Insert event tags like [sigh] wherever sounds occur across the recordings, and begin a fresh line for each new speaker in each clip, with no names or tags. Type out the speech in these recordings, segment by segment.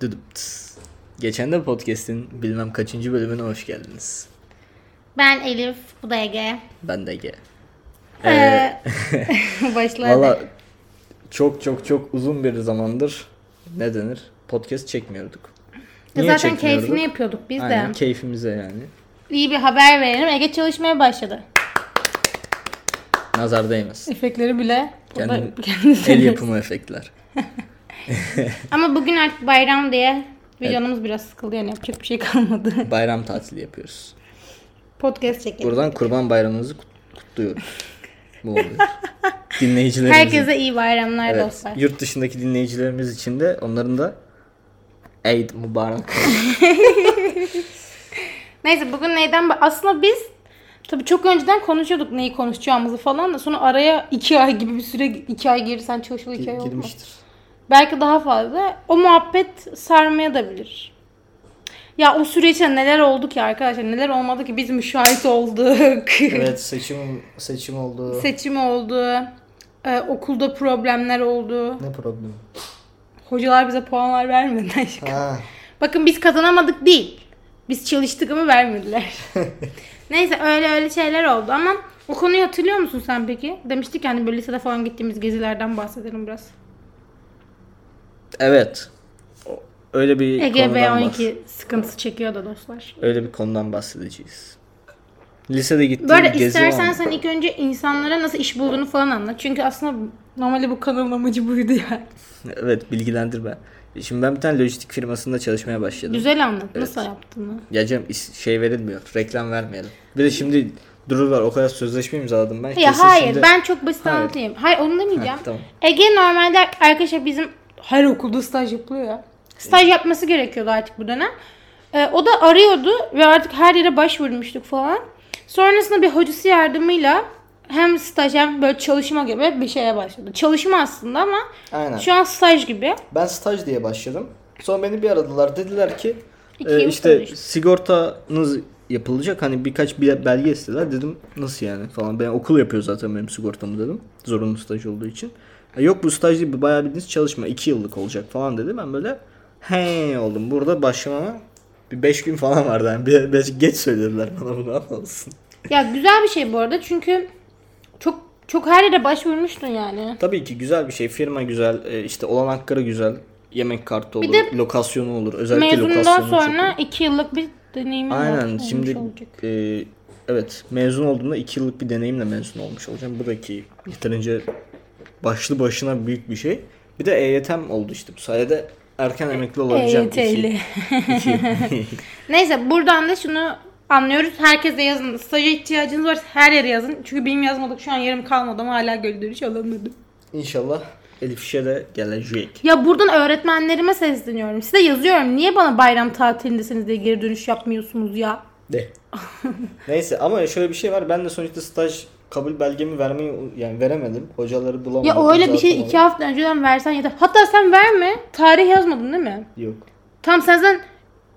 Düdüm tıs. Geçen de podcast'in bilmem kaçıncı bölümüne hoş geldiniz.
Ben Elif, bu da Ege.
Ben de Ege.
Ee, [laughs] Başla. hadi.
Valla çok çok çok uzun bir zamandır ne denir? Podcast çekmiyorduk.
Ya
Niye
Zaten
çekmiyorduk?
keyfini yapıyorduk biz
Aynen,
de.
keyfimize yani.
İyi bir haber verelim. Ege çalışmaya başladı.
Nazar
[laughs]
değmez.
Efektleri bile. o da
Kendim-
[laughs] kendisi.
El yapımı efektler.
Ama bugün artık bayram diye videomuz biraz sıkıldı yani yapacak bir şey kalmadı. [laughs]
Bayram tatili yapıyoruz.
Podcast çekelim.
Buradan kurban bayramınızı kut- kutluyoruz. Bu
[laughs]
oluyor. Dinleyicilerimize.
Herkese iyi bayramlar
Evet,
dostlar.
Yurt dışındaki dinleyicilerimiz için de onların da Eid mübarek.
Neyse bugün neyden bah- aslında biz tabii çok önceden konuşuyorduk neyi konuşacağımızı falan da sonra araya iki ay gibi bir süre iki ay girirsen
[laughs]
çalışılı iki ay Şey olmaz.
Girmiştir.
Belki daha fazla. O muhabbet sarmaya da bilir. Ya o süreçte neler oldu ki arkadaşlar? Neler olmadı ki? Biz müşahit olduk.
Evet seçim seçim oldu.
[laughs] Seçim oldu. Ee, okulda problemler oldu.
ne problem?
Hocalar bize puanlar vermedi.
[laughs]
aşkım.
Ha.
Bakın biz kazanamadık değil. Biz çalıştık
[laughs]
ama vermediler. Neyse öyle öyle şeyler oldu ama o konuyu hatırlıyor musun sen peki? Demiştik yani böyle lisede falan gittiğimiz gezilerden bahsedelim biraz.
Evet. O- Öyle bir
Ege
konudan bahs-
B12 sıkıntısı çekiyordu dostlar.
Öyle bir konudan bahsedeceğiz. Lisede gittiğim
Bu arada
gezi
istersen
olmadı.
sen ilk önce insanlara nasıl iş bulduğunu falan anlat. Çünkü aslında normalde bu kanalın amacı buydu ya.
Evet bilgilendir ben. Şimdi ben bir tane lojistik firmasında çalışmaya başladım.
Güzel anlat. Nasıl yaptığını.
Ya Cem is- şey verilmiyor. Reklam vermeyelim. Bir de şimdi dururlar o kadar sözleşme imzaladım ben.
Ya
kesin
hayır
şimdi-
ben çok basit
Hayır.
anlatayım. Hayır onu demeyeceğim.
Heh, tamam.
Ege normalde arkadaşlar bizim her okulda staj yapılıyor ya. Staj yapması gerekiyordu artık bu dönem. Ee, o da arıyordu ve artık her yere başvurmuştuk falan. Sonrasında bir hocası yardımıyla hem staj hem böyle çalışma gibi bir şeye başladı. Çalışma aslında ama
Aynen.
şu an staj gibi.
Ben staj diye başladım. Sonra beni bir aradılar. Dediler ki
İki
e,
yıl
işte
staj.
sigortanız yapılacak. Hani birkaç bir belge istediler. Dedim nasıl yani falan. Ben okul yapıyor zaten benim sigortamı dedim. Zorunlu staj olduğu için. E, yok bu staj değil. bu Bayağı bildiğiniz çalışma. 2 yıllık olacak falan dedi. Ben böyle he oldum. Burada başlamama bir 5 gün falan vardı. Yani bir, biraz geç söylediler bana bunu ama olsun.
Ya güzel bir şey bu arada çünkü çok çok her yere başvurmuştun yani.
Tabii ki güzel bir şey. Firma güzel. e, işte olanakları güzel. Yemek kartı olur.
de
lokasyonu olur. Özellikle
Mezundan
lokasyonu çok
sonra iki yıllık bir deneyimin
Aynen
olmuş
şimdi
olacak.
e, evet mezun olduğumda 2 yıllık bir deneyimle mezun olmuş olacağım. Bu da ki yeterince başlı başına büyük bir şey. Bir de EYT'm oldu işte bu sayede erken emekli
E
olabileceğim. iki-
EYT'li. [laughs]
iki-
Neyse buradan da şunu anlıyoruz. Herkese yazın. Staja ihtiyacınız varsa her yere yazın. Çünkü benim yazmadık şu an yarım kalmadı ama hala geri dönüş alamadım.
[laughs] İnşallah Elif İş'e de gelecek.
Ya buradan öğretmenlerime sesleniyorum. Size yazıyorum. Niye bana bayram tatilindesiniz diye geri dönüş yapmıyorsunuz ya? [laughs]
De. Neyse ama şöyle bir şey var. Ben de sonuçta staj kabul belgemi vermeyi yani veremedim. Hocaları bulamadım.
Ya öyle bir şey
uzatamadım.
iki hafta önceden versen yeter. Hatta sen verme. Tarih yazmadın değil mi?
Yok.
Tamam sen zaten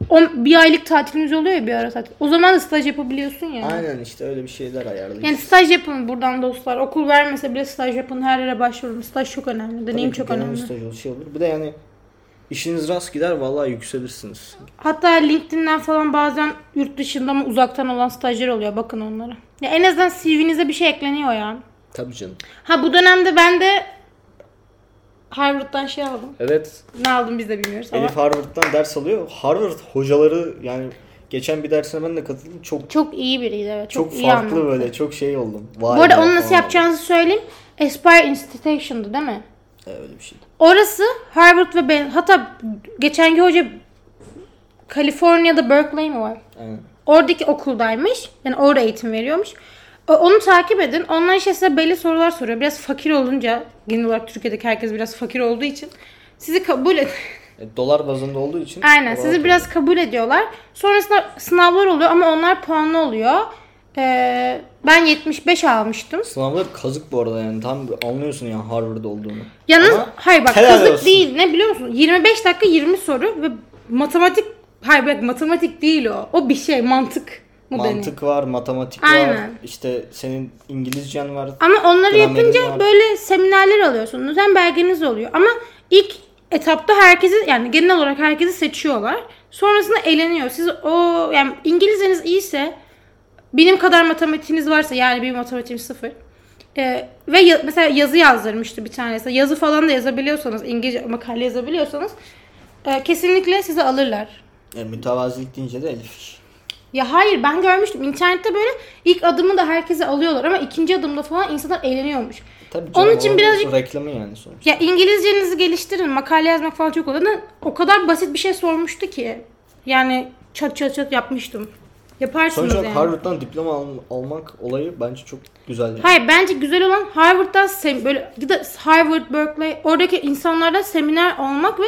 on, bir aylık tatilimiz oluyor ya bir ara tatil. O zaman da staj yapabiliyorsun ya.
Aynen işte öyle bir şeyler ayarlayacağız.
Yani staj yapın buradan dostlar. Okul vermese bile staj yapın. Her yere başvurun. Staj çok önemli. Deneyim
Tabii ki
çok
genel
önemli.
staj olur, şey olur. Bir de yani işiniz rast gider vallahi yükselirsiniz.
Hatta LinkedIn'den falan bazen yurt dışında ama uzaktan olan stajyer oluyor. Bakın onlara. Ya en azından CV'nize bir şey ekleniyor ya.
Tabii canım.
Ha bu dönemde ben de Harvard'dan şey aldım.
Evet.
Ne aldım biz de bilmiyoruz ama.
Elif Harvard'dan ders alıyor. Harvard hocaları yani geçen bir dersine ben de katıldım. Çok çok,
Çok iyi biriydi evet. Çok, iyi
farklı
anlattı.
böyle çok şey oldum. Vay
Bu arada
be
onu nasıl
falan.
yapacağınızı söyleyeyim. Aspire Institution'du değil mi?
Ee, öyle bir şey.
Orası Harvard ve ben hatta geçenki hoca Kaliforniya'da Berkeley mi var?
Aynen.
Oradaki okuldaymış. Yani orada eğitim veriyormuş. O- Onu takip edin. Onlar işte size belli sorular soruyor. Biraz fakir olunca genel olarak Türkiye'deki herkes biraz fakir olduğu için sizi kabul ed [laughs]
E, dolar bazında olduğu için.
Aynen
dolar-
sizi biraz kabul ediyorlar. Sonrasında sınavlar oluyor ama onlar puanlı oluyor. Ee, ben 75 almıştım.
Sınavlar kazık bu arada yani tam anlıyorsun yani Harvard olduğunu.
Yalnız
Ama
hayır bak
helal
kazık
olsun.
değil ne biliyor musun? 25 dakika 20 soru ve matematik hayır bak matematik değil o. O bir şey mantık mı deniyor?
Mantık var, matematik var.
Aynen.
İşte senin İngilizcen var.
Ama onları
Gramerin
yapınca
var.
böyle seminerler alıyorsunuz. Hem belgeniz oluyor. Ama ilk etapta herkesi yani genel olarak herkesi seçiyorlar. Sonrasında eleniyor. Siz o yani İngilizceniz iyiyse benim kadar matematiğiniz varsa yani benim matematiğim sıfır. Ee, ve ya- mesela yazı yazdırmıştı bir tanesi. Yazı falan da yazabiliyorsanız, İngilizce makale yazabiliyorsanız e, kesinlikle sizi alırlar.
Yani E, mütevazilik deyince de Elif.
Ya hayır ben görmüştüm. İnternette böyle ilk adımı da herkese alıyorlar ama ikinci adımda falan insanlar eğleniyormuş.
Tabii
Onun için
o-
birazcık-
o reklamı yani sonuçta.
Ya İngilizcenizi geliştirin. Makale yazmak falan çok olan o kadar basit bir şey sormuştu ki. Yani çat çat çat yapmıştım. Yaparsınız
Sonuç olarak
yani.
Harvard'dan diploma al- almak olayı bence çok güzel. Yani.
Hayır bence güzel olan Harvard'dan sem- böyle ya da Harvard, Berkeley oradaki insanlardan seminer almak ve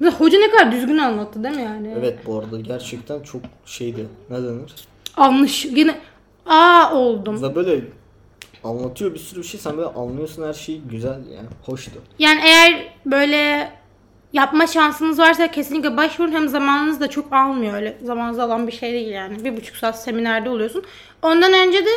bir de hoca ne kadar düzgün anlattı değil mi yani?
Evet bu arada gerçekten çok şeydi. Ne denir?
Anlaş yine aa oldum.
Ve böyle anlatıyor bir sürü bir şey. Sen böyle anlıyorsun her şeyi güzel yani. Hoştu.
Yani eğer böyle yapma şansınız varsa kesinlikle başvurun. Hem zamanınız da çok almıyor öyle. Zamanınızı alan bir şey değil yani. Bir buçuk saat seminerde oluyorsun. Ondan önce de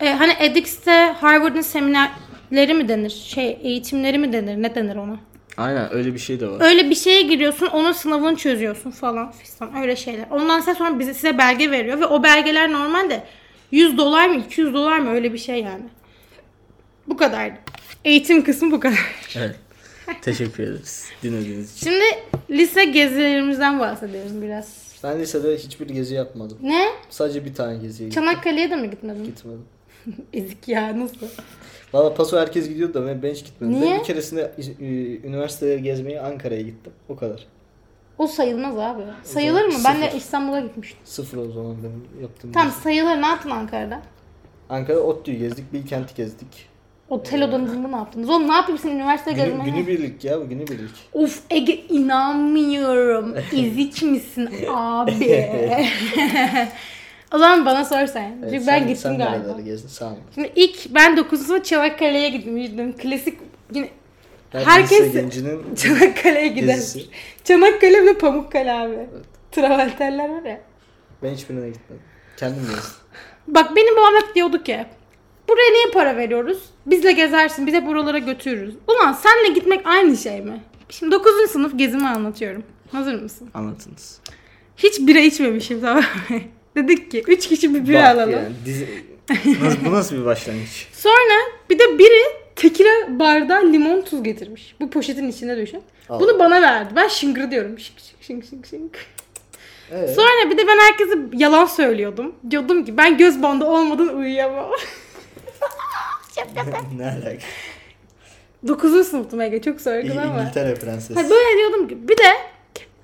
e, hani edX'te Harvard'ın seminerleri mi denir? Şey eğitimleri mi denir? Ne denir ona?
Aynen öyle bir şey de var.
[laughs] Öyle bir şeye giriyorsun, onun sınavını çözüyorsun falan fistan öyle şeyler. Ondan size sonra bize size belge veriyor ve o belgeler normalde 100 dolar mı 200 dolar mı öyle bir şey yani. Bu kadar. Eğitim kısmı bu kadar.
Evet. Teşekkür ederiz dinlediğiniz için.
Şimdi lise gezilerimizden bahsediyoruz biraz.
Ben lisede hiçbir gezi yapmadım.
Ne?
Sadece bir tane geziye gittim.
Çanakkale'ye de mi gitmedin?
gitmedim.
Ezik ya nasıl?
Valla paso herkes gidiyordu da ben, ben hiç gitmedim.
Niye?
Ben bir keresinde e, üniversiteye gezmeye Ankara'ya gittim. O kadar.
O sayılmaz abi. Sayılır mı? Ben de İstanbul'a gitmiştim.
Sıfır o zaman benim yaptığım.
Tamam
gezi.
sayılır. Ne yaptın Ankara'da?
Ankara'da ODTÜ'yü gezdik, Bilkent'i gezdik.
Otel odanızında ne yaptınız? Oğlum ne yapayım senin üniversite
Ee, Günü,
gezmeye?
günübirlik ya bu günübirlik.
Of Ege
[laughs]
inanmıyorum. İzik misin abi? o zaman bana sor sen. Çünkü
Evet,
ben
sen-
gittim
sen
galiba.
nereleri gezdin? Sağ olun.
Şimdi ilk ben 9. sınıf Çanakkale'ye gitmiştim. Klasik yine [laughs]
Ben
Herkes-
lise [laughs] gencinin
Çanakkale'ye gider.
Gezisi.
Çanakkale ve Pamukkale abi. Travelterler var ya.
ben hiçbirine gitmedim. Kendim gezdim.
Bak benim babam hep diyordu ki buraya niye para veriyoruz? Bizle gezersin, bize buralara götürürüz. Ulan senle gitmek aynı şey mi? Şimdi 9. sınıf gezimi anlatıyorum. Hazır mısın?
Anlatınız.
Hiç bira içmemişim tamam mı? [laughs] Dedik ki 3 kişi bir bira alalım.
dizi... nasıl, bu nasıl bir başlangıç?
Sonra bir de biri tekila bardağı limon tuz getirmiş. Bu poşetin içinde düşün.
Allah.
Bunu bana verdi. Ben şıngır diyorum. Şık şık şık şık şık.
Evet. [laughs]
Sonra bir de ben herkese yalan söylüyordum. Diyordum ki ben göz bandı olmadan uyuyamam. [laughs]
ne alaka?
9. sınıftım Ege çok sorgun
[laughs]
ama.
İngiltere prensesi.
Ha, böyle diyordum ki bir de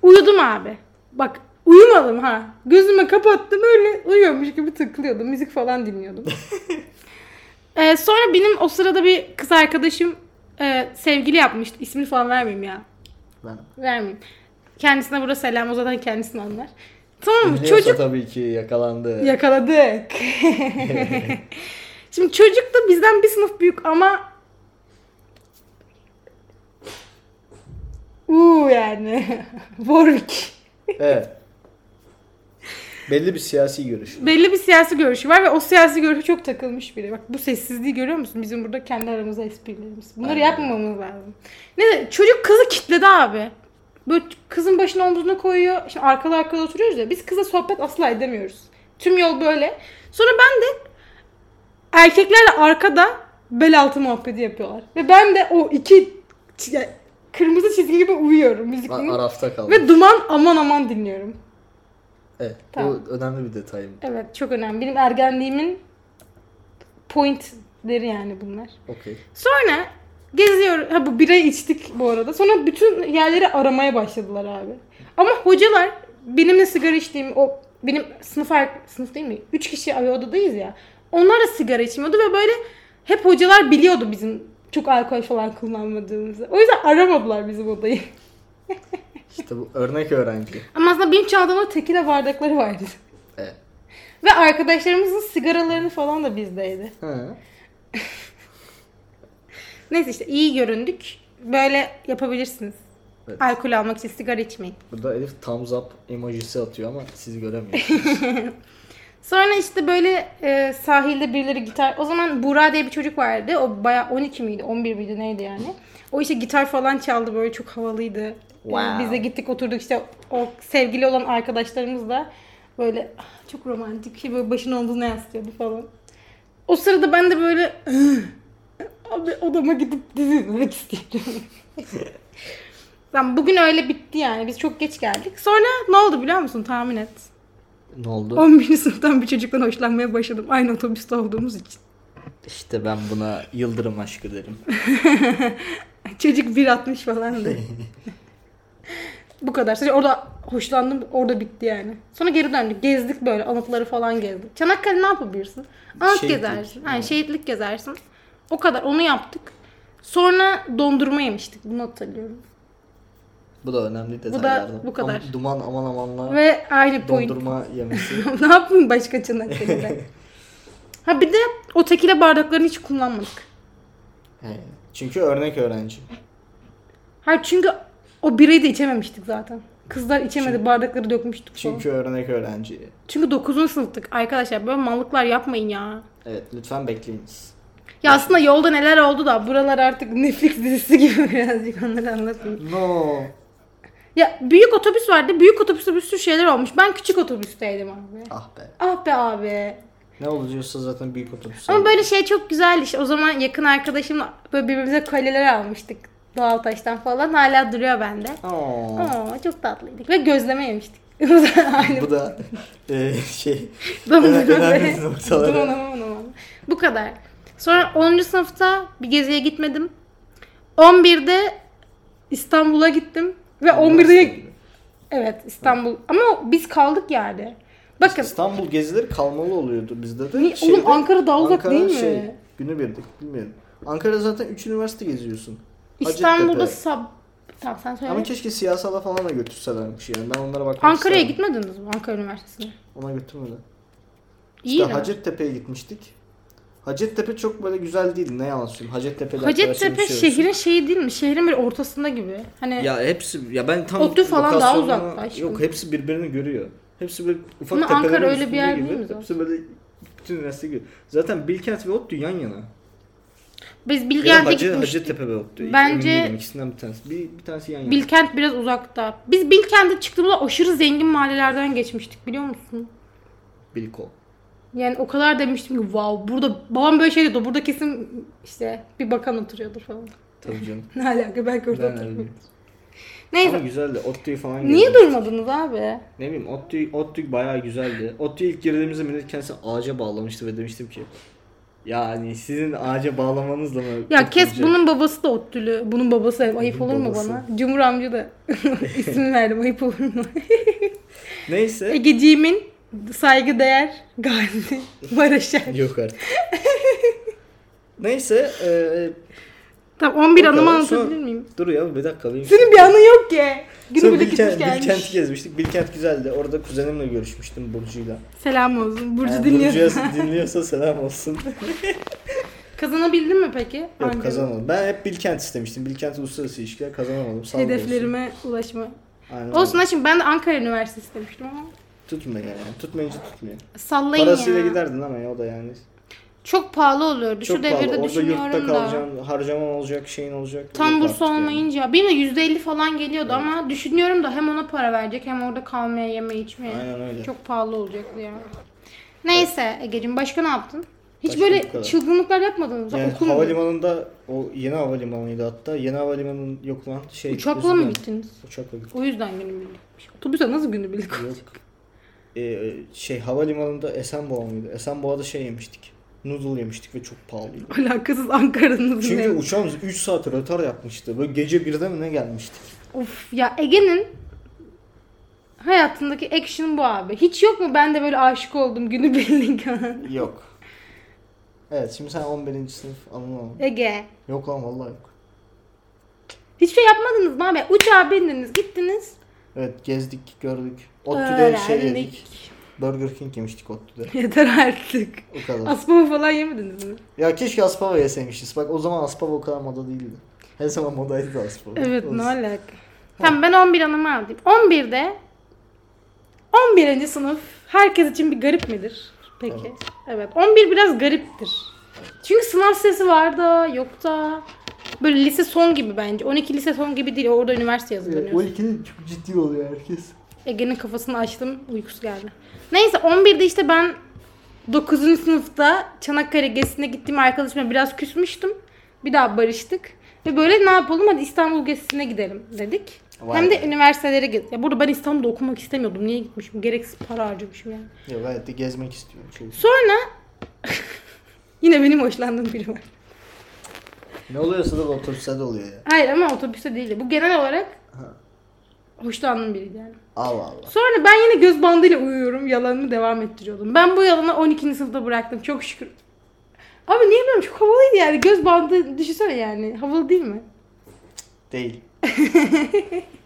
uyudum abi. Bak uyumadım ha. Gözümü kapattım öyle uyuyormuş gibi tıklıyordum. Müzik
[laughs]
falan dinliyordum. Ee, sonra benim o sırada bir kız arkadaşım e, sevgili yapmıştı. İsmini falan vermeyeyim ya.
Ben-
Vermeyeyim. Kendisine burada selam o zaten kendisini anlar. Tamam mı?
Biliyorsa
Çocuk
tabii ki yakalandı.
Yakaladık. Şimdi çocuk da bizden bir sınıf büyük ama Uuu yani. [laughs] Warwick.
evet. Belli bir siyasi görüş.
Belli bir siyasi görüşü var ve o siyasi görüşe çok takılmış biri. Bak bu sessizliği görüyor musun? Bizim burada kendi aramızda esprilerimiz. Bunları
Aynen.
yapmamamız lazım. Neyse çocuk kızı kitledi abi. Böyle kızın başını omzuna koyuyor. Şimdi arkalı arkalı oturuyoruz ya. Biz kıza sohbet asla edemiyoruz. Tüm yol böyle. Sonra ben de erkeklerle arkada bel altı muhabbeti yapıyorlar. Ve ben de o iki çi- yani kırmızı çizgi gibi uyuyorum
Ben
müziklerin.
Araf'ta kaldım.
Ve duman aman aman dinliyorum.
Evet.
Tamam.
Bu önemli bir detay. bu.
Evet çok önemli. Benim ergenliğimin pointleri yani bunlar.
Okey.
Sonra geziyor. Ha bu birayı içtik bu arada. Sonra bütün yerleri aramaya başladılar abi. Ama hocalar benimle sigara içtiğim o benim sınıf ar- sınıf değil mi? Üç kişi ayrı odadayız ya. Onlar da sigara içmiyordu ve böyle hep hocalar biliyordu bizim çok alkol falan kullanmadığımızı. O yüzden aramadılar bizim odayı.
İşte bu örnek öğrenci.
Ama aslında benim çaldığımda tekile bardakları vardı.
Evet.
Ve arkadaşlarımızın sigaralarını falan da bizdeydi.
Ha.
Neyse işte iyi göründük. Böyle yapabilirsiniz.
Evet.
Alkol almak için sigara içmeyin.
Burada Elif thumbs up emojisi atıyor ama sizi göremiyor.
Sonra işte böyle e, sahilde birileri gitar... O zaman Buğra diye bir çocuk vardı. O baya 12 miydi? 11 miydi? Neydi yani? O işte gitar falan çaldı böyle çok havalıydı. E,
Wow.
biz de gittik oturduk işte o sevgili olan arkadaşlarımızla böyle ah, çok romantik şey böyle başın omzuna yaslıyordu falan. O sırada ben de böyle "Ah, abi odama gidip dizi izlemek istiyorum. [laughs] Lan bugün öyle bitti yani. Biz çok geç geldik. Sonra ne oldu biliyor musun? Tahmin et.
Ne oldu?
11. sınıftan bir çocuktan hoşlanmaya başladım. Aynı otobüste olduğumuz için.
İşte ben buna yıldırım aşkı derim.
Çocuk
[laughs]
1.60 falandı. Bu kadar. Sadece orada hoşlandım. Orada bitti yani. Sonra geri döndük. Gezdik böyle. Anıtları falan gezdik. Çanakkale ne yapabilirsin? Anıt
Şehitlik.
gezersin. Yani şehitlik gezersin. O kadar. Onu yaptık. Sonra dondurma yemiştik. Bunu hatırlıyorum.
Bu da önemli
da
detaylardan.
bu kadar.
Am- duman aman amanla
Ve aynı point.
dondurma yemesi.
[laughs] ne yapayım
[laughs]
başka Çanakkale'de? ha bir de o tekile bardaklarını hiç kullanmadık.
He. Çünkü örnek öğrenci.
Hayır çünkü o birayı da içememiştik zaten. Kızlar içemedi bardakları dökmüştük çünkü...
Çünkü örnek öğrenci.
Çünkü 9. sınıftık arkadaşlar böyle mallıklar yapmayın ya.
Evet lütfen bekleyiniz.
Ya aslında yolda neler oldu da buralar artık Netflix dizisi gibi [laughs] birazcık onları anlatayım.
No.
Ya büyük otobüs vardı. Büyük otobüste bir sürü şeyler olmuş. Ben küçük otobüsteydim abi.
Ah be.
Ah be abi.
Ne oluyorsa zaten büyük otobüs.
Ama böyle şey çok güzeldi işte. O zaman yakın arkadaşımla böyle birbirimize kolyeler almıştık. Doğal taştan falan. Hala duruyor bende.
Aa.
Aa, çok tatlıydık. Ve gözleme yemiştik. [laughs] Aynı
Bu da e,
[laughs]
şey
Dondurma
Önemli
ve-
noktaları.
Duman, aman, aman. Bu kadar. Sonra 10. sınıfta bir geziye gitmedim. 11'de İstanbul'a gittim. Ve 11'de evet İstanbul. Ama biz kaldık yani. Bakın
İstanbul gezileri kalmalı oluyordu bizde de. Şey,
Niye? Oğlum Ankara daha uzak değil mi?
günü birdik bilmiyorum. Ankara'da zaten 3 üniversite geziyorsun.
İstanbul'da
Hacettepe.
sab... Tamam sen söyle.
Ama keşke siyasala falan da götürselermiş yani. Ben onlara bakmak
Ankara'ya
isterdim.
gitmediniz mi? Ankara Üniversitesi'ne.
Ona götürmedi.
İyi
İşte
de.
Hacettepe'ye gitmiştik. Hacettepe çok böyle güzel değildi. Ne yalan söyleyeyim. Hacettepe'de
Hacettepe
arkadaşlarımız şey olsun.
şehrin şeyi değil mi? Şehrin bir ortasında gibi. Hani
Ya hepsi ya ben tam
ODTÜ falan daha
lokasyonuna-
uzak aşkım.
Yok hepsi birbirini görüyor. Hepsi böyle ufak
Ama
tepelerin
Ankara öyle
üstünde
bir yer
gibi.
değil mi zaten?
Hepsi böyle bütün üniversite gibi. Zaten Bilkent ve ODTÜ yan yana.
biz
Ya
Bilkent'e
Hacı,
gitmiştik.
Hacettepe ve ODTÜ. Emin
Bence-
değilim, ikisinden bir tanesi. Bir, bir tanesi yan yana.
Bilkent biraz uzakta. Biz Bilkent'e çıktığımızda aşırı zengin mahallelerden geçmiştik biliyor musun?
Bilko.
Yani o kadar demiştim ki wow burada babam böyle şey diyordu burada kesin işte bir bakan oturuyordur falan. [laughs]
Tabii canım.
Ne alaka belki orada
Ben
oturmuyor.
öyleyim. Ama
Neyse
güzeldi. ODTÜ'yü falan
niye
gördüm.
durmadınız abi?
Ne bileyim ODTÜ, ODTÜ bayağı güzeldi. ODTÜ'ye ilk girdiğimizde millet kendisini ağaca bağlamıştı ve demiştim ki yani sizin ağaca bağlamanızla mı?
Ya kes
kurtulacak?"
bunun babası da ottülü. Bunun babası ayıp
Bunun
olur mu
babası.
bana? Cumhur amca
[laughs]
da [laughs] isim verdim ayıp olur mu? [laughs]
Neyse.
Egeciğimin saygıdeğer Gazi Maraşer.
Yok artık. Neyse. E,
Tamam 11
O
anımı
kadar.
anlatabilir
Sonra-
miyim?
dur ya bir dakika. Benim
Senin bir anın yok ki.
Sonra
Günü bile
Bilkent-
gitmiş gelmiş.
Bilkent'i gezmiştik. Bilkent güzeldi. Orada kuzenimle görüşmüştüm Burcu'yla.
Selam olsun. Burcu
Yani
dinliyor.
Burcu'ya dinliyorsa selam olsun.
[laughs] Kazanabildin mi peki? Ankara?
Yok kazanamadım. Ben hep Bilkent istemiştim. Bilkent uluslararası ilişkiler kazanamadım. Sağ
Hedeflerime ulaşma.
Olsun, Aynen
Olsun
öyle.
ha şimdi ben de Ankara Üniversitesi demiştim ama.
Tutmuyor yani. Tutmayınca tutmuyor.
Sallayın
Parasıyla
ya.
giderdin ama ya o da yani.
Çok pahalı oluyordu.
Çok
Şu
pahalı.
devirde
Orada yurtta
düşünüyorum da.
kalacaksın. Harcaman olacak, şeyin olacak.
Tam
Yok
burs
artık yani.
olmayınca. Benim de %50 falan geliyordu ama düşünüyorum da hem ona para verecek hem orada kalmaya, yeme, içmeye.
Aynen öyle.
Çok pahalı olacaktı ya. Neyse Ege'cim başka ne yaptın? Hiç
Başka bu
böyle
kadar.
çılgınlıklar yapmadınız mı?
Yani
Okul mu?
havalimanında o yeni havalimanıydı hatta. Yeni havalimanının yok lan şey.
Uçakla mı
üzülme.
gittiniz?
Uçakla gittim.
O yüzden günübirlikmiş. Otobüse nasıl günübirlik
Yok. Ee, şey havalimanında Esenboğa mıydı? Esenboğa'da şey yemiştik. Noodle yemiştik ve çok
[laughs]
pahalıydı.
Alakasız Ankara'nın
Çünkü uçağımız 3 saat rötar yapmıştı. Böyle gece 1'de mi ne gelmiştik?
Of ya Ege'nin hayatındaki action bu abi. Hiç yok mu ben de böyle aşık oldum günü birlik
Yok. Evet şimdi sen 11. sınıf anlamam.
[laughs] Ege.
Yok lan vallahi yok.
Hiçbir şey yapmadınız mı abi? Uçağa bindiniz gittiniz.
Evet gezdik gördük. ODTÜ'de şey yedik.
Öğrendik.
Burger King yemiştik ODTÜ'de.
[laughs] Yeter artık.
O kadar.
Aspava falan yemediniz mi?
ya keşke Aspava yeseymişiz. Bak o zaman Aspava o kadar moda değildi. Her zaman modaydı da Aspava.
Evet
Olsun.
ne alaka. Tamam ben 11 anımı aldım. 11'de 11. sınıf herkes için bir garip midir? Peki. Evet. 11 biraz gariptir. Çünkü sınav sesi var da yok da. Böyle lise son gibi bence. 12 lise son gibi değil. Orada üniversite hazırlanıyorsun.
12'de çok ciddi oluyor herkes.
Ege'nin kafasını açtım. Uykusu geldi. Neyse 11'de işte ben 9. sınıfta Çanakkale gezisine gittiğim arkadaşımla biraz küsmüştüm. Bir daha barıştık. Ve böyle ne yapalım hadi İstanbul gezisine gidelim dedik.
Vay
Hem de
be.
üniversitelere gittik. Ya burada ben İstanbul'da okumak istemiyordum. Niye gitmişim? Gereksiz para harcamışım yani.
Ya gayet de gezmek istiyorum çünkü.
Sonra [laughs] yine benim hoşlandığım biri var.
Ne oluyorsa da otobüste de oluyor ya.
Hayır ama otobüste değildi. Bu genel olarak
Ha.
hoşlandığım biriydi yani.
Allah Allah.
Sonra ben yine göz bandıyla uyuyorum. Yalanımı devam ettiriyordum. Ben bu yalanı 12. sınıfta bıraktım. Çok şükür. Ama niye bilmiyorum çok havalıydı yani. Göz bandı düşünsene yani. Havalı değil mi? [laughs]
Değil.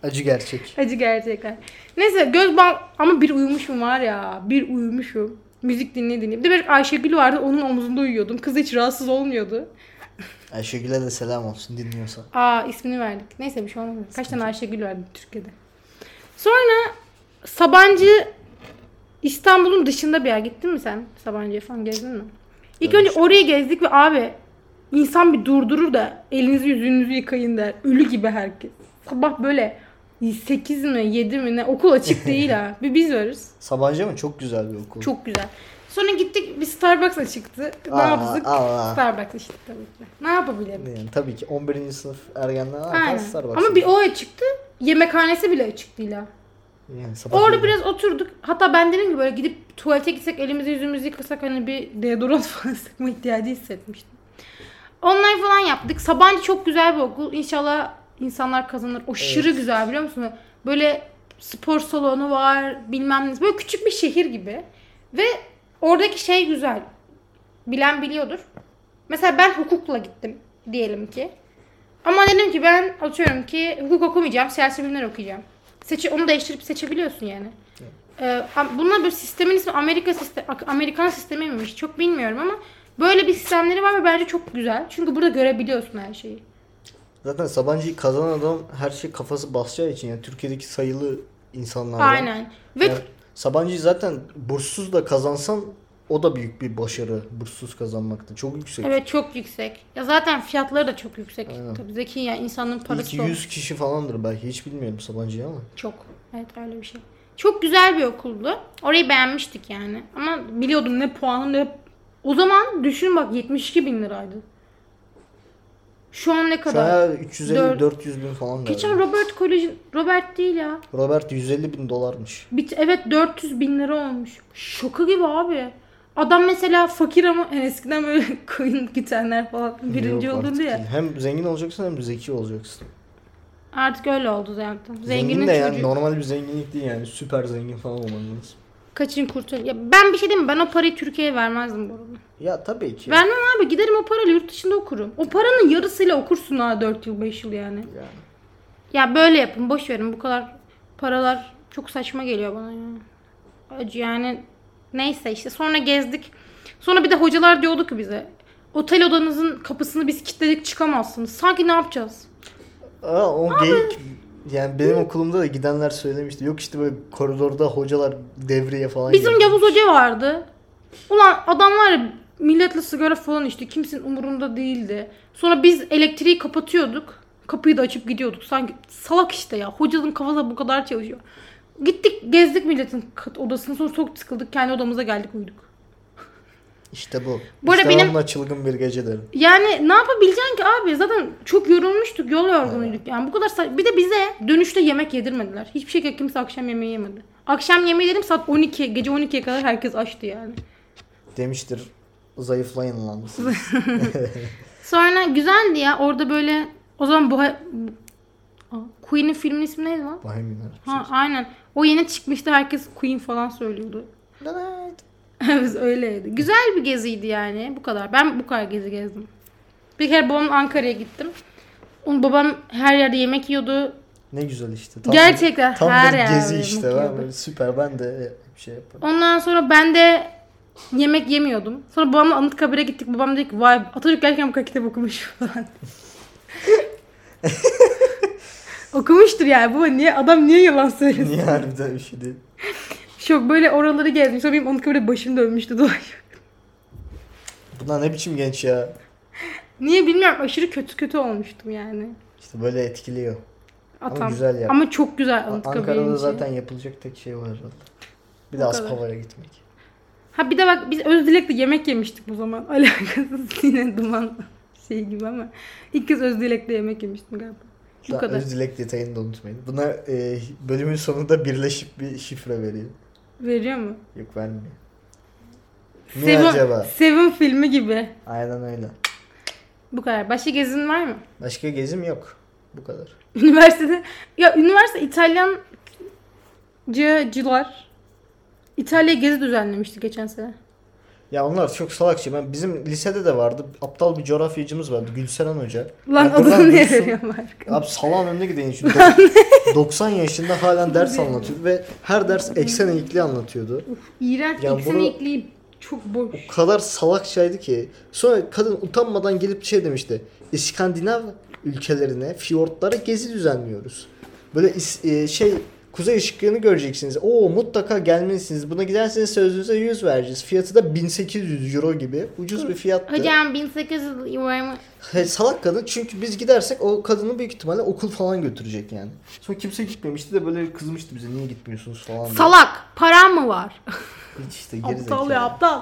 Acı gerçek.
Acı gerçekten. Neyse göz bandı ama bir uyumuşum var ya. Bir uyumuşum. Müzik dinle dinle. Bir de bir Ayşegül vardı onun omzunda uyuyordum. Kız hiç rahatsız olmuyordu.
Ayşegül'e de selam olsun dinliyorsa.
Aa ismini verdik. Neyse bir şey olmadı. Kaç tane Ayşegül verdim Türkiye'de. Sonra Sabancı İstanbul'un dışında bir yer gittin mi sen? Sabancı'ya falan gezdin mi? İlk önce oraya gezdik ve abi insan bir durdurur da elinizi yüzünüzü yıkayın der. Ölü gibi herkes. Sabah böyle 8 mi 7 mi ne okul açık değil ha. Bir biz varız.
Sabancı mı? Çok güzel bir okul.
Çok güzel. Sonra gittik bir Starbucks'a çıktı. Ne
Aa,
yaptık?
aa.
Starbucks içtik tabii ki. Ne yapabilirim?
Yani tabii ki 11. sınıf ergenler
Aynen.
herkes Starbucks'a
Ama bir o açıktı. Yemekhanesi bile açıktı ila.
Yani sabah
Orada
yemeği.
biraz oturduk. Hatta ben dedim ki böyle gidip tuvalete gitsek elimizi yüzümüzü yıkasak hani bir deodorant [laughs] falan sıkma ihtiyacı hissetmiştim. Onlar falan yaptık. Sabancı çok güzel bir okul. İnşallah insanlar kazanır. Aşırı güzel biliyor musun? Böyle spor salonu var bilmem ne. Böyle küçük bir şehir gibi. Ve oradaki şey güzel. Bilen biliyordur. Mesela ben hukukla gittim diyelim ki. Ama dedim ki ben atıyorum ki hukuk okumayacağım, siyasi bilimler okuyacağım. Seçi, onu değiştirip seçebiliyorsun yani. Ee, am- bunlar böyle sistemin ismi Amerika sistem, Amerikan sistemi miymiş çok bilmiyorum ama böyle bir sistemleri var ve bence çok güzel. Çünkü burada görebiliyorsun her şeyi.
Zaten Sabancı'yı kazanan adam her şey kafası basacağı için yani Türkiye'deki sayılı insanlar. var.
Aynen. Ve
Yani Sabancı'yı zaten burssuz da kazansan o da büyük bir başarı. Burssuz kazanmakta. Çok yüksek.
evet çok yüksek. Ya zaten fiyatları da çok yüksek.
Aynen.
Tabii zeki ya insanın parası
İlk
o.
100 kişi falandır belki. Hiç bilmiyorum Sabancı'yı ama.
Çok. Evet öyle bir şey. Çok güzel bir okuldu. Orayı beğenmiştik yani. Ama biliyordum ne puanım ne... O zaman düşün bak 72 bin liraydı. Şu an ne
Şu an
kadar?
her 350
Dört-
400 bin falan galiba.
Geçen Robert Koleji... Robert değil ya.
Robert 150 bin dolarmış.
Bit evet 400 bin lira olmuş. Şoka gibi abi. Adam mesela fakir ama [laughs] yani eskiden böyle koyun gütenler falan birinci
Yok
olurdu
artık
ya.
değil. Hem zengin olacaksın hem zeki olacaksın.
Artık öyle oldu zaten.
zengin
Zenginin
de
çocuğu...
yani normal bir zenginlik değil yani. Süper zengin falan olman lazım.
Kaçın kurtul. Ya ben bir şey diyeyim mi? Ben o parayı Türkiye'ye vermezdim bu arada.
Ya tabii ki.
Vermem abi giderim o parayla yurt dışında okurum. O paranın yarısıyla okursun ha 4 yıl 5 yıl yani.
Yani.
Ya böyle yapın boş verin bu kadar paralar çok saçma geliyor bana ya. Acı yani neyse işte sonra gezdik. Sonra bir de hocalar diyordu ki bize otel odanızın kapısını biz kilitledik çıkamazsınız. Sanki ne yapacağız?
Aa, o geyik. Yani benim okulumda da gidenler söylemişti. Yok işte böyle koridorda hocalar devreye falan
Bizim
girdi.
Yavuz Hoca vardı. Ulan adam var ya milletle sigara falan içti. Kimsenin umurunda değildi. Sonra biz elektriği kapatıyorduk. Kapıyı da açıp gidiyorduk. Sanki salak işte ya. Hocanın kafası bu kadar çalışıyor. Gittik gezdik milletin kat- odasını. Sonra çok sıkıldık. Kendi odamıza geldik uyuduk.
İşte bu.
Bu arada
işte
benim-
onunla çılgın bir gece derim.
Yani ne yapabileceksin ki abi? Zaten çok yorulmuştuk. Yol yorgunuyduk. Yani bu kadar sa- Bir de bize dönüşte yemek yedirmediler. Hiçbir şekilde kimse akşam yemeği yemedi. Akşam yemeği dedim saat 12. Gece 12'ye kadar herkes açtı yani.
Demiştir zayıflayın lan. [laughs]
Sonra güzeldi ya orada böyle o zaman bu Aa, Queen'in filmin ismi neydi lan?
Bohemian
Ha aynen. O yeni çıkmıştı herkes Queen falan söylüyordu. [laughs]
Rhapsody.
Evet öyleydi. Güzel bir geziydi yani bu kadar. Ben bu kadar gezi gezdim. Bir kere babamla Ankara'ya gittim. Onun babam her yerde yemek yiyordu.
Ne güzel işte.
Gerçekten
bir- tam
her
bir
yer
gezi
böyle
işte.
mutlu
Ben
oldu.
böyle süper ben de bir şey
[laughs]
yaparım.
Ondan sonra ben de yemek yemiyordum. Sonra babamla Anıtkabir'e gittik. Babam dedi ki vay Atatürk gelirken bu kadar kitap okumuş [laughs] falan. Okumuştur yani baba niye adam niye yalan söylesin?
Niye harbiden bir şey değil.
Çok böyle oraları gezmiş. Sonra benim onunki böyle başım dönmüştü [laughs] dolayı.
Bunlar ne biçim genç ya.
Niye bilmiyorum aşırı kötü kötü olmuştum yani.
İşte böyle etkiliyor.
Atam.
güzel yaptı.
Ama çok güzel
Ankara'da
Anıtkabir'inki.
zaten yapılacak tek şey var herhalde. Bir de
Ankara.
Aspava'ya gitmek.
Ha bir de bak biz Özdilek'le yemek yemiştik bu zaman. [laughs] Alakasız yine duman [laughs] şey gibi ama. ilk kez Özdilek'le yemek yemiştim galiba. Bu
Daha
kadar.
Öz dilek detayını da unutmayın. Buna e, bölümün sonunda birleşip bir şifre veriyor.
Veriyor mu?
Yok vermiyor. Niye
Seven,
acaba?
Seven filmi gibi.
Aynen öyle.
Bu kadar. Başka gezin var mı? [laughs]
Başka gezim yok. Bu kadar.
Üniversitede ya üniversite İtalyancılar İtalya gezi düzenlemişti geçen sene.
Ya onlar çok salakça. Ben, bizim lisede de vardı. Aptal bir coğrafyacımız vardı. Gülseren Hoca.
Lan
Ya buradan
adını niye
duysun.
veriyorum artık?
Abi salağın önüne gideyim
[laughs]
şimdi. 90 yaşında halen ders anlatıyor ve her ders eksen eğikli anlatıyordu.
İğrenç
Ya
ikisini
bunu-
ekleyip çok boş.
O kadar salakçaydı ki. Sonra kadın utanmadan gelip şey demişti. İskandinav ülkelerine, fiyortlara gezi düzenliyoruz. Böyle is- e, şey kuzey ışıklarını göreceksiniz. Oo mutlaka gelmelisiniz. Buna giderseniz sözünüze 100 vereceğiz. Fiyatı da 1800 euro gibi. Ucuz bir fiyattı.
Hocam 1800 yuvarma.
He, salak kadın çünkü biz gidersek o kadını büyük ihtimalle okul falan götürecek yani. Sonra kimse gitmemişti de böyle kızmıştı bize niye gitmiyorsunuz falan diye.
Salak. Paran mı var?
Hiç işte [laughs] geri
aptal ya aptal.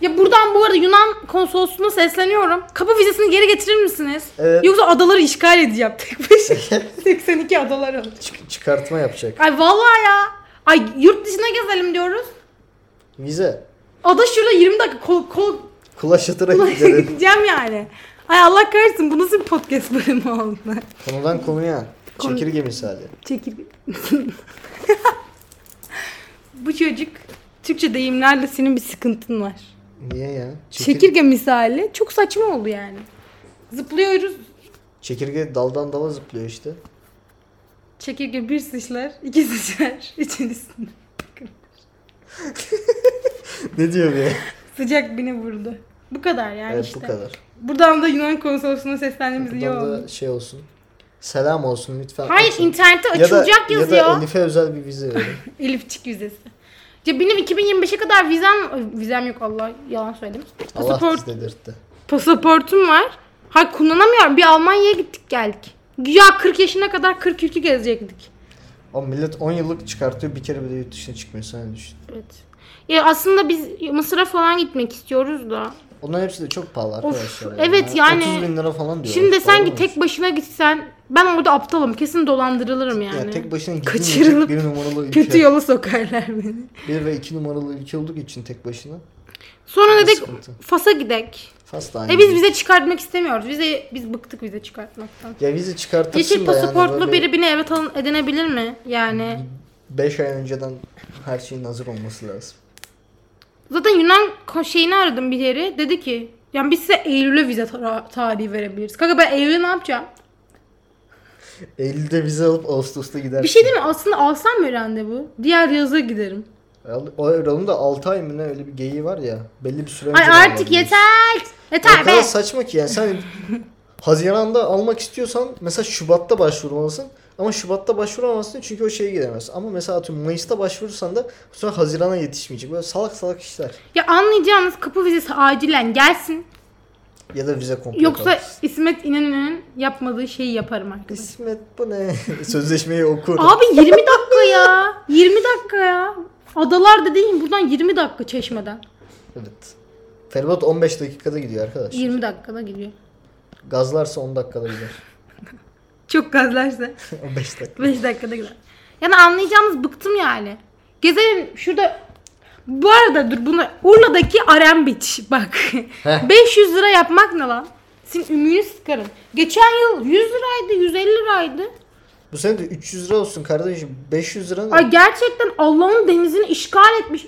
Ya buradan bu arada Yunan konsolosluğuna sesleniyorum. Kapı vizesini geri getirir misiniz?
Evet.
Yoksa adaları işgal edeceğim tek başına.
[laughs]
82 adalar alacağım.
çıkartma yapacak.
Ay vallahi ya. Ay yurt dışına gezelim diyoruz.
Vize.
Ada şurada 20 dakika kol kol [laughs]
Kulaş atarak gidelim.
gideceğim yani. Ay Allah kahretsin bu nasıl bir podcast bölümü oldu? [laughs]
Konudan konuya.
Konu-
Çekirge misali.
Çekil. [laughs] bu çocuk Türkçe deyimlerle senin bir sıkıntın var.
Niye ya? Çekir-
Çekirge misali çok saçma oldu yani. Zıplıyoruz.
Çekirge daldan dala zıplıyor işte. [laughs]
Çekirge bir sıçrar, iki sıçrar. [laughs] Üçüncüsünü.
ne diyor ya?
Sıcak beni vurdu. Bu kadar yani
evet
işte.
bu kadar.
Buradan da Yunan konsolosluğuna seslendiğimiz iyi
Buradan
oldu.
da şey olsun. Selam olsun lütfen.
Hayır
açın.
internette
Ya da-
açılacak yazıyor.
Ya da Elif'e özel bir vize
[laughs]
verin.
Elifçik vizesi. Ya benim 2025'e kadar vizem Ay, vizem yok Allah yalan söyledim.
Allah
Pasaport
bizi dedirtti.
pasaportum var. Ha kullanamıyorum. Bir Almanya'ya gittik geldik. Ya 40 yaşına kadar 40 ülke gezecektik.
O millet 10 yıllık çıkartıyor bir kere bile yurt dışına çıkmıyor sen düşün.
Evet. Ya aslında biz Mısır'a falan gitmek istiyoruz da.
Onların hepsi de çok pahalı arkadaşlar.
evet yani.
30 bin lira falan diyor.
Şimdi desen ki
Doğru mu?
tek başına gitsen ben orada aptalım. Kesin dolandırılırım yani.
yani. tek başına
Kaçırılıp
gidilmeyecek bir numaralı ülke.
[laughs] Kötü yola sokarlar beni.
Bir ve iki numaralı ülke olduk için tek başına.
Sonra
Ne
dedik
sıkıntı.
Fas'a gidek.
Fas da aynı.
E biz vize çıkartmak istemiyoruz. Vize biz bıktık vize çıkartmaktan.
Ya vize çıkartırsın
Yeşil
da yani
pasaportlu
böyle
biri beni evet alın edinebilir mi? Yani
5 ay önceden her şeyin hazır olması lazım.
zaten Yunan ko- şeyini aradım bir yeri. Dedi ki yani biz size Eylül'e vize tara- tarihi verebiliriz. Kanka ben Eylül'e ne yapacağım?
Eylül'de vize alıp Ağustos'ta gidersin.
Bir şey değil mi? Aslında alsam mı randevu? Diğer yaza giderim.
Al- O oranın da 6 ay mı ne öyle bir geyiği var ya. Belli bir süre önceden
Ay artık
alabiliyorsun.
yeter.
O
Yeter
kadar
be.
saçma ki yani sen
[laughs]
Haziran'da almak istiyorsan mesela Şubat'ta başvurmalısın. Ama Şubat'ta başvuramazsın çünkü o şeye giremez. Ama mesela atıyorum Mayıs'ta başvurursan da sonra Haziran'a yetişmeyecek. Böyle salak salak işler.
Ya anlayacağınız kapı vizesi acilen gelsin.
Ya da vize komple
Yoksa
kalır.
İsmet İnönü'nün yapmadığı şeyi yaparım arkadaşlar.
İsmet bu ne? [laughs] Sözleşmeyi okur.
Abi 20 dakika ya. 20 dakika ya. Adalar dediğin buradan 20 dakika çeşmeden.
Evet. Feribot 15 dakikada gidiyor arkadaş.
20 dakikada gidiyor.
Gazlarsa 10 dakikada
[laughs]
gider.
Çok gazlarsa
15 dakika.
5 dakikada gider. Yani anlayacağınız bıktım yani. Gezelim şurada bu arada dur bunu Urla'daki Arembiç bak. [laughs]
Heh.
500 lira yapmak ne lan? Senin ümüğünü sıkarım. Geçen yıl 100 liraydı, 150 liraydı.
Bu sene de 300 lira olsun kardeşim. 500 lira ne?
Ay gerçekten Allah'ın denizini işgal etmiş.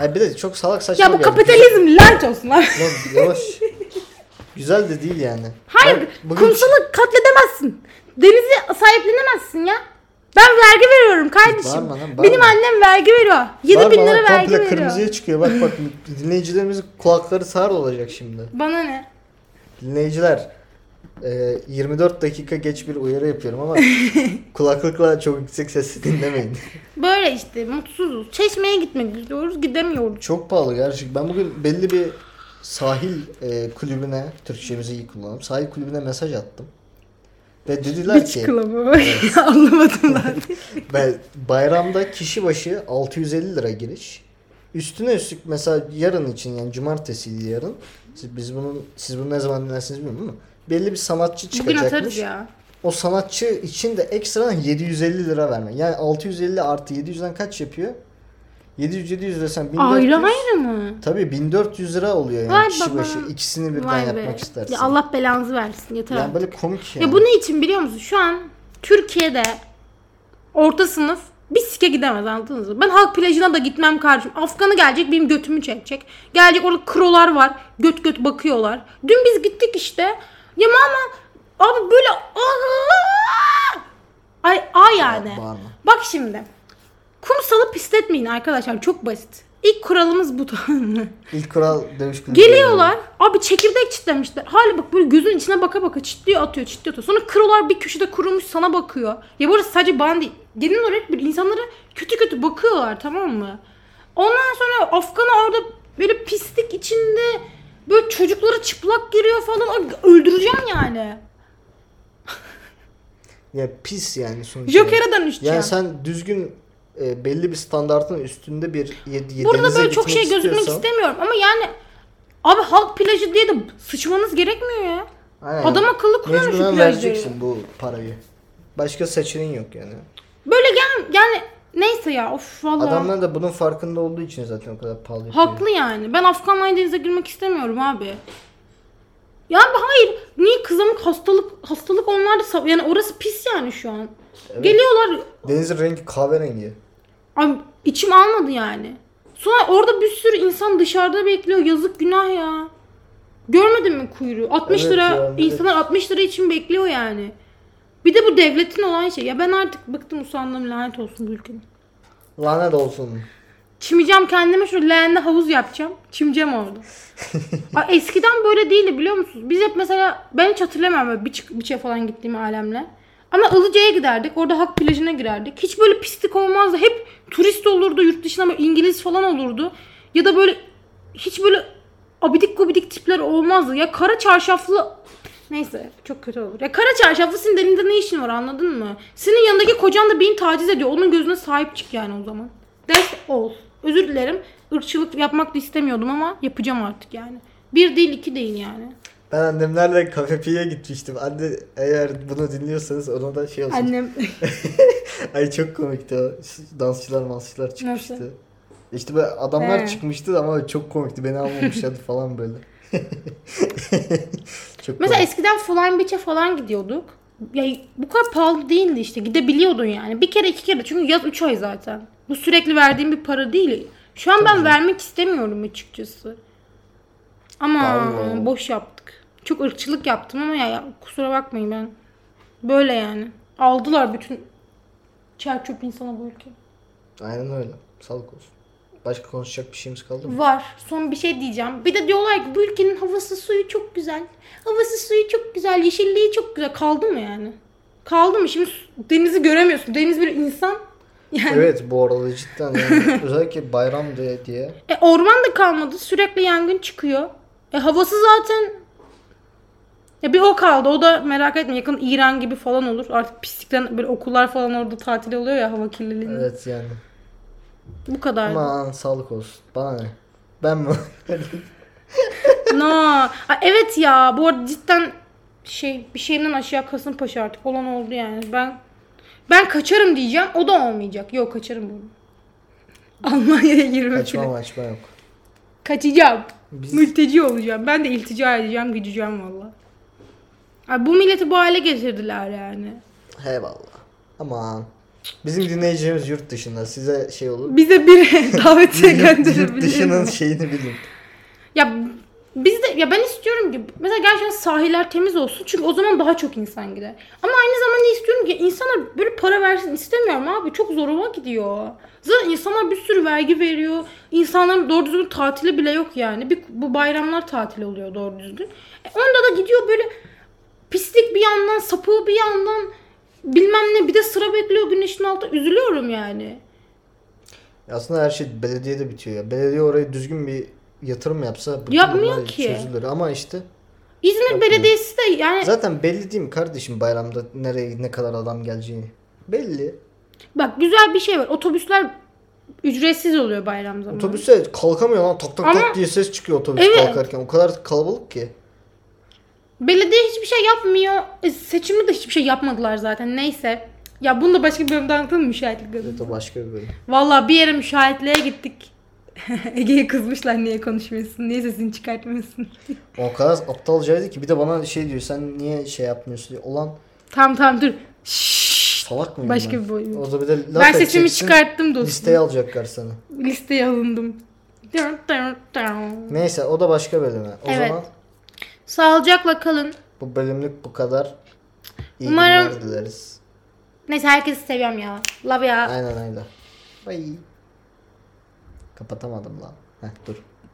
Ay bir de çok salak saçma
Ya bu
bir yer.
kapitalizm lanet olsun lan.
Lan yavaş. Güzel de değil yani.
Hayır,
Ben bugün-
kumsalı katledemezsin. Denizi sahiplenemezsin ya. Ben vergi veriyorum kardeşim.
Bağırma lan, bağırma.
Benim annem vergi veriyor. 7 bin
Var
lira
bana
vergi
komple
veriyor.
kırmızıya çıkıyor. Bak bak dinleyicilerimizin kulakları sağır olacak şimdi.
Bana ne?
Dinleyiciler Ee, 24 dakika geç bir uyarı yapıyorum
[laughs]
ama kulaklıkla çok yüksek sesle dinlemeyin.
Böyle işte mutsuzuz. Çeşmeye gitmek istiyoruz gidemiyoruz.
çok pahalı gerçekten. Ben bugün belli bir sahil e, kulübüne, Türkçemizi iyi kullanalım, sahil kulübüne mesaj attım. Ve dediler
Hiç
ki
kılamı [laughs] anlamadım
[laughs]
ben.
ben bayramda kişi başı 650 lira giriş. Üstüne üstlük mesela yarın için yani cumartesiydi yarın. Siz, biz bunun, siz bunu ne zaman dinlersiniz bilmiyorum ama belli bir sanatçı
Bugün
çıkacakmış.
atarız ya.
o sanatçı için de ekstradan 750 lira vermen. Yani 650 artı 700'den kaç yapıyor? 700 700 desen 1400.
Ayrı ayrı mı?
Tabii 1400 lira oluyor yani
Vay
kişi
baba.
başı. İkisini birden
Vay be.
yapmak istersin.
Ya Allah belanızı versin yeter.
Yani
artık.
böyle komik yani.
Ya bu ne için biliyor musun? Şu an Türkiye'de orta sınıf bir sike gidemez anladınız mı? Ben halk plajına da gitmem kardeşim. Afganı gelecek benim götümü çekecek. Gelecek orada krolar var. Göt göt bakıyorlar. Dün biz gittik işte. Ya mama abi böyle Aa! Ay a yani.
Bağırma.
Bak şimdi. Kumsalı pisletmeyin arkadaşlar. Çok basit. İlk kuralımız bu. [laughs]
İlk kural dövüş kulübü.
Geliyorlar. Abi çekirdek çitlemişler. Hala bak böyle gözün içine baka baka çitliyor atıyor çitliyor atıyor. Sonra kırılar bir köşede kurumuş sana bakıyor. Ya bu arada sadece bana değil. Genel olarak bir insanlara kötü kötü bakıyorlar tamam mı? Ondan sonra Afgan'a orada böyle pislik içinde böyle çocuklara çıplak giriyor falan. Ay, Öldüreceğim yani.
Ya pis yani sonuçta.
Joker'e dönüşeceğim.
Yani sen düzgün e, belli bir standartın üstünde bir yedi,
Burada
denize
böyle çok
gitmek
şey gözükmek
istiyorsan-
istemiyorum ama yani abi halk plajı diye de sıçmanız gerekmiyor ya.
Aynen.
Adam akıllı kullanır şu
Mecburen
plajları.
vereceksin bu parayı. Başka seçeneğin yok yani.
Böyle gel yani neyse ya of vallahi.
Adamlar da bunun farkında olduğu için zaten o kadar pahalı yapıyor.
Haklı yani. Ben Afgan Aydeniz'e girmek istemiyorum abi. Ya abi hayır. Niye kızamık hastalık hastalık onlar da sav- yani orası pis yani şu an. Geliyorlar.
Denizin rengi kahverengi.
Abi içim almadı yani. Sonra orada bir sürü insan dışarıda bekliyor. Yazık günah ya. Görmedin mi kuyruğu? 60
Evet
lira
ya, evet.
insanlar 60 lira için bekliyor yani. Bir de bu devletin olan şey. Ya ben artık bıktım usandım lanet olsun bu ülkenin.
Lanet olsun.
Çimeceğim kendime şu leğenli havuz yapacağım. Çimeceğim orada. Ay, eskiden böyle değildi biliyor musunuz? Biz hep mesela ben hiç hatırlamıyorum böyle biç, biçe şey falan gittiğimi alemle. Ama Ilıca'ya giderdik. Orada Hak plajına girerdik. Hiç böyle pislik olmazdı. Hep turist olurdu. Yurt dışına böyle İngiliz falan olurdu. Ya da böyle hiç böyle abidik gubidik tipler olmazdı. Ya kara çarşaflı Neyse çok kötü olur. Ya kara çarşaflı senin elinde ne işin var anladın mı? Senin yanındaki kocan da beni taciz ediyor. Onun gözüne sahip çık yani o zaman. Ders ol. Özür dilerim. Irkçılık yapmak da istemiyordum ama yapacağım artık yani. Bir değil iki değil yani.
Ben annemlerle kafe piye gitmiştim. Anne eğer bunu dinliyorsanız ona da şey olsun.
Annem
Ay çok komikti o. Dansçılar mansçılar çıkmıştı.
Nasıl?
İşte böyle adamlar
He.
çıkmıştı ama çok komikti. Beni almamışlardı falan böyle. [laughs] çok
Mesela
komik.
eskiden Flying Beach'e falan gidiyorduk. Ya bu kadar pahalı değildi işte. Gidebiliyordun yani. Bir kere iki kere. Çünkü yaz 3 ay zaten. Bu sürekli verdiğim bir para değil. Şu an ben vermek istemiyorum açıkçası. Ama
Vallahi.
boş yaptık. Çok ırkçılık yaptım ama ya, ya kusura bakmayın ben. Böyle yani. Aldılar bütün çer çöp insana bu ülke.
Aynen öyle. Sağlık olsun. Başka konuşacak bir şeyimiz kaldı mı?
Var. Son bir şey diyeceğim. Bir de diyorlar ki bu ülkenin havası suyu çok güzel. Havası suyu çok güzel. Yeşilliği çok güzel. Kaldı mı yani? Kaldı mı? Şimdi su- denizi göremiyorsun. Deniz bir insan. Yani
evet bu arada cidden yani özellikle bayram diye diye
e, orman da kalmadı. Sürekli yangın çıkıyor. E, havası zaten ya bir o kaldı. O da merak etme yakın İran gibi falan olur. Artık pislikten böyle okullar falan orada tatil oluyor ya hava kirliliğinden.
evet yani.
Bu kadar.
Aman sağlık olsun. Bana ne? Ben
[laughs]
mi?
No. Ay, evet ya bu arada cidden şey bir şeyden aşağı Kasımpaşa artık olan oldu yani. Ben ben kaçarım diyeceğim. O da olmayacak. Yok kaçarım bunu. Almanya'ya girme
kaçma
bile.
maçma yok.
Kaçacağım.
Biz-
Mülteci olacağım. Ben de iltica edeceğim, gideceğim valla. Ay, bu milleti bu hale getirdiler yani.
Eyvallah. Aman. Bizim dinleyicilerimiz yurt dışında. Size şey olur.
Bize bir [laughs] davetiye
Yurt
gönderebilir
dışının
mi?
şeyini bilin.
Ya biz de ya ben istiyorum ki mesela gerçekten sahiller temiz olsun çünkü o zaman daha çok insan gider. Ama aynı zamanda istiyorum ki insanlar böyle para versin istemiyorum abi çok zoruma gidiyor. Zaten insanlar bir sürü vergi veriyor. İnsanların doğru düzgün tatili bile yok yani. Bir, bu bayramlar tatil oluyor doğru düzgün. E, onda da gidiyor böyle pislik bir yandan, sapığı bir yandan bilmem ne bir de sıra bekliyor güneşin altında. Üzülüyorum yani.
Aslında her şey belediyede bitiyor ya. Belediye oraya düzgün bir yatırım yapsa bütün
Yapmıyor
bunlar
ki.
çözülür ama işte
İzmir Belediyesi de yani
zaten belli değil mi kardeşim bayramda nereye ne kadar adam geleceğini. Belli.
bak güzel bir şey var. Otobüsler ücretsiz oluyor bayram zamanı.
Otobüse kalkamıyor lan tak tak
Ama-
tak diye ses çıkıyor otobüs
Evet.
kalkarken. O kadar kalabalık ki.
Belediye hiçbir şey yapmıyor. E, seçimi de hiçbir şey yapmadılar zaten. Neyse. Ya bunu da başka bir bölümde anlatalım mı müşahitlik bölümü?
Evet o başka bir bölüm.
Valla bir yere müşahitliğe gittik. [laughs] Ege'ye kızmışlar niye konuşmuyorsun, niye sesini çıkartmıyorsun.
O kadar aptalcaydı ki bir de bana şey diyor sen niye şey yapmıyorsun diyor. Ulan
tamam tamam dur. Şşş.
salak mıyım
Başka
ben?
bir bölüm.
Orada bir de laf
Ben sesimi
edeceksin,
çıkarttım dostum.
Listeye alacaklar sana.
Listeye alındım. Dırn, dırn, dırn.
Neyse o da başka bölüme. O
Evet.
zaman
Sağlıcakla kalın.
bu bölümlük bu kadar. İyi
Umarım-
günler dileriz.
Neyse herkesi seviyorum ya. Love ya.
Aynen öyle. Bay. Kapatamadım lan. Heh dur.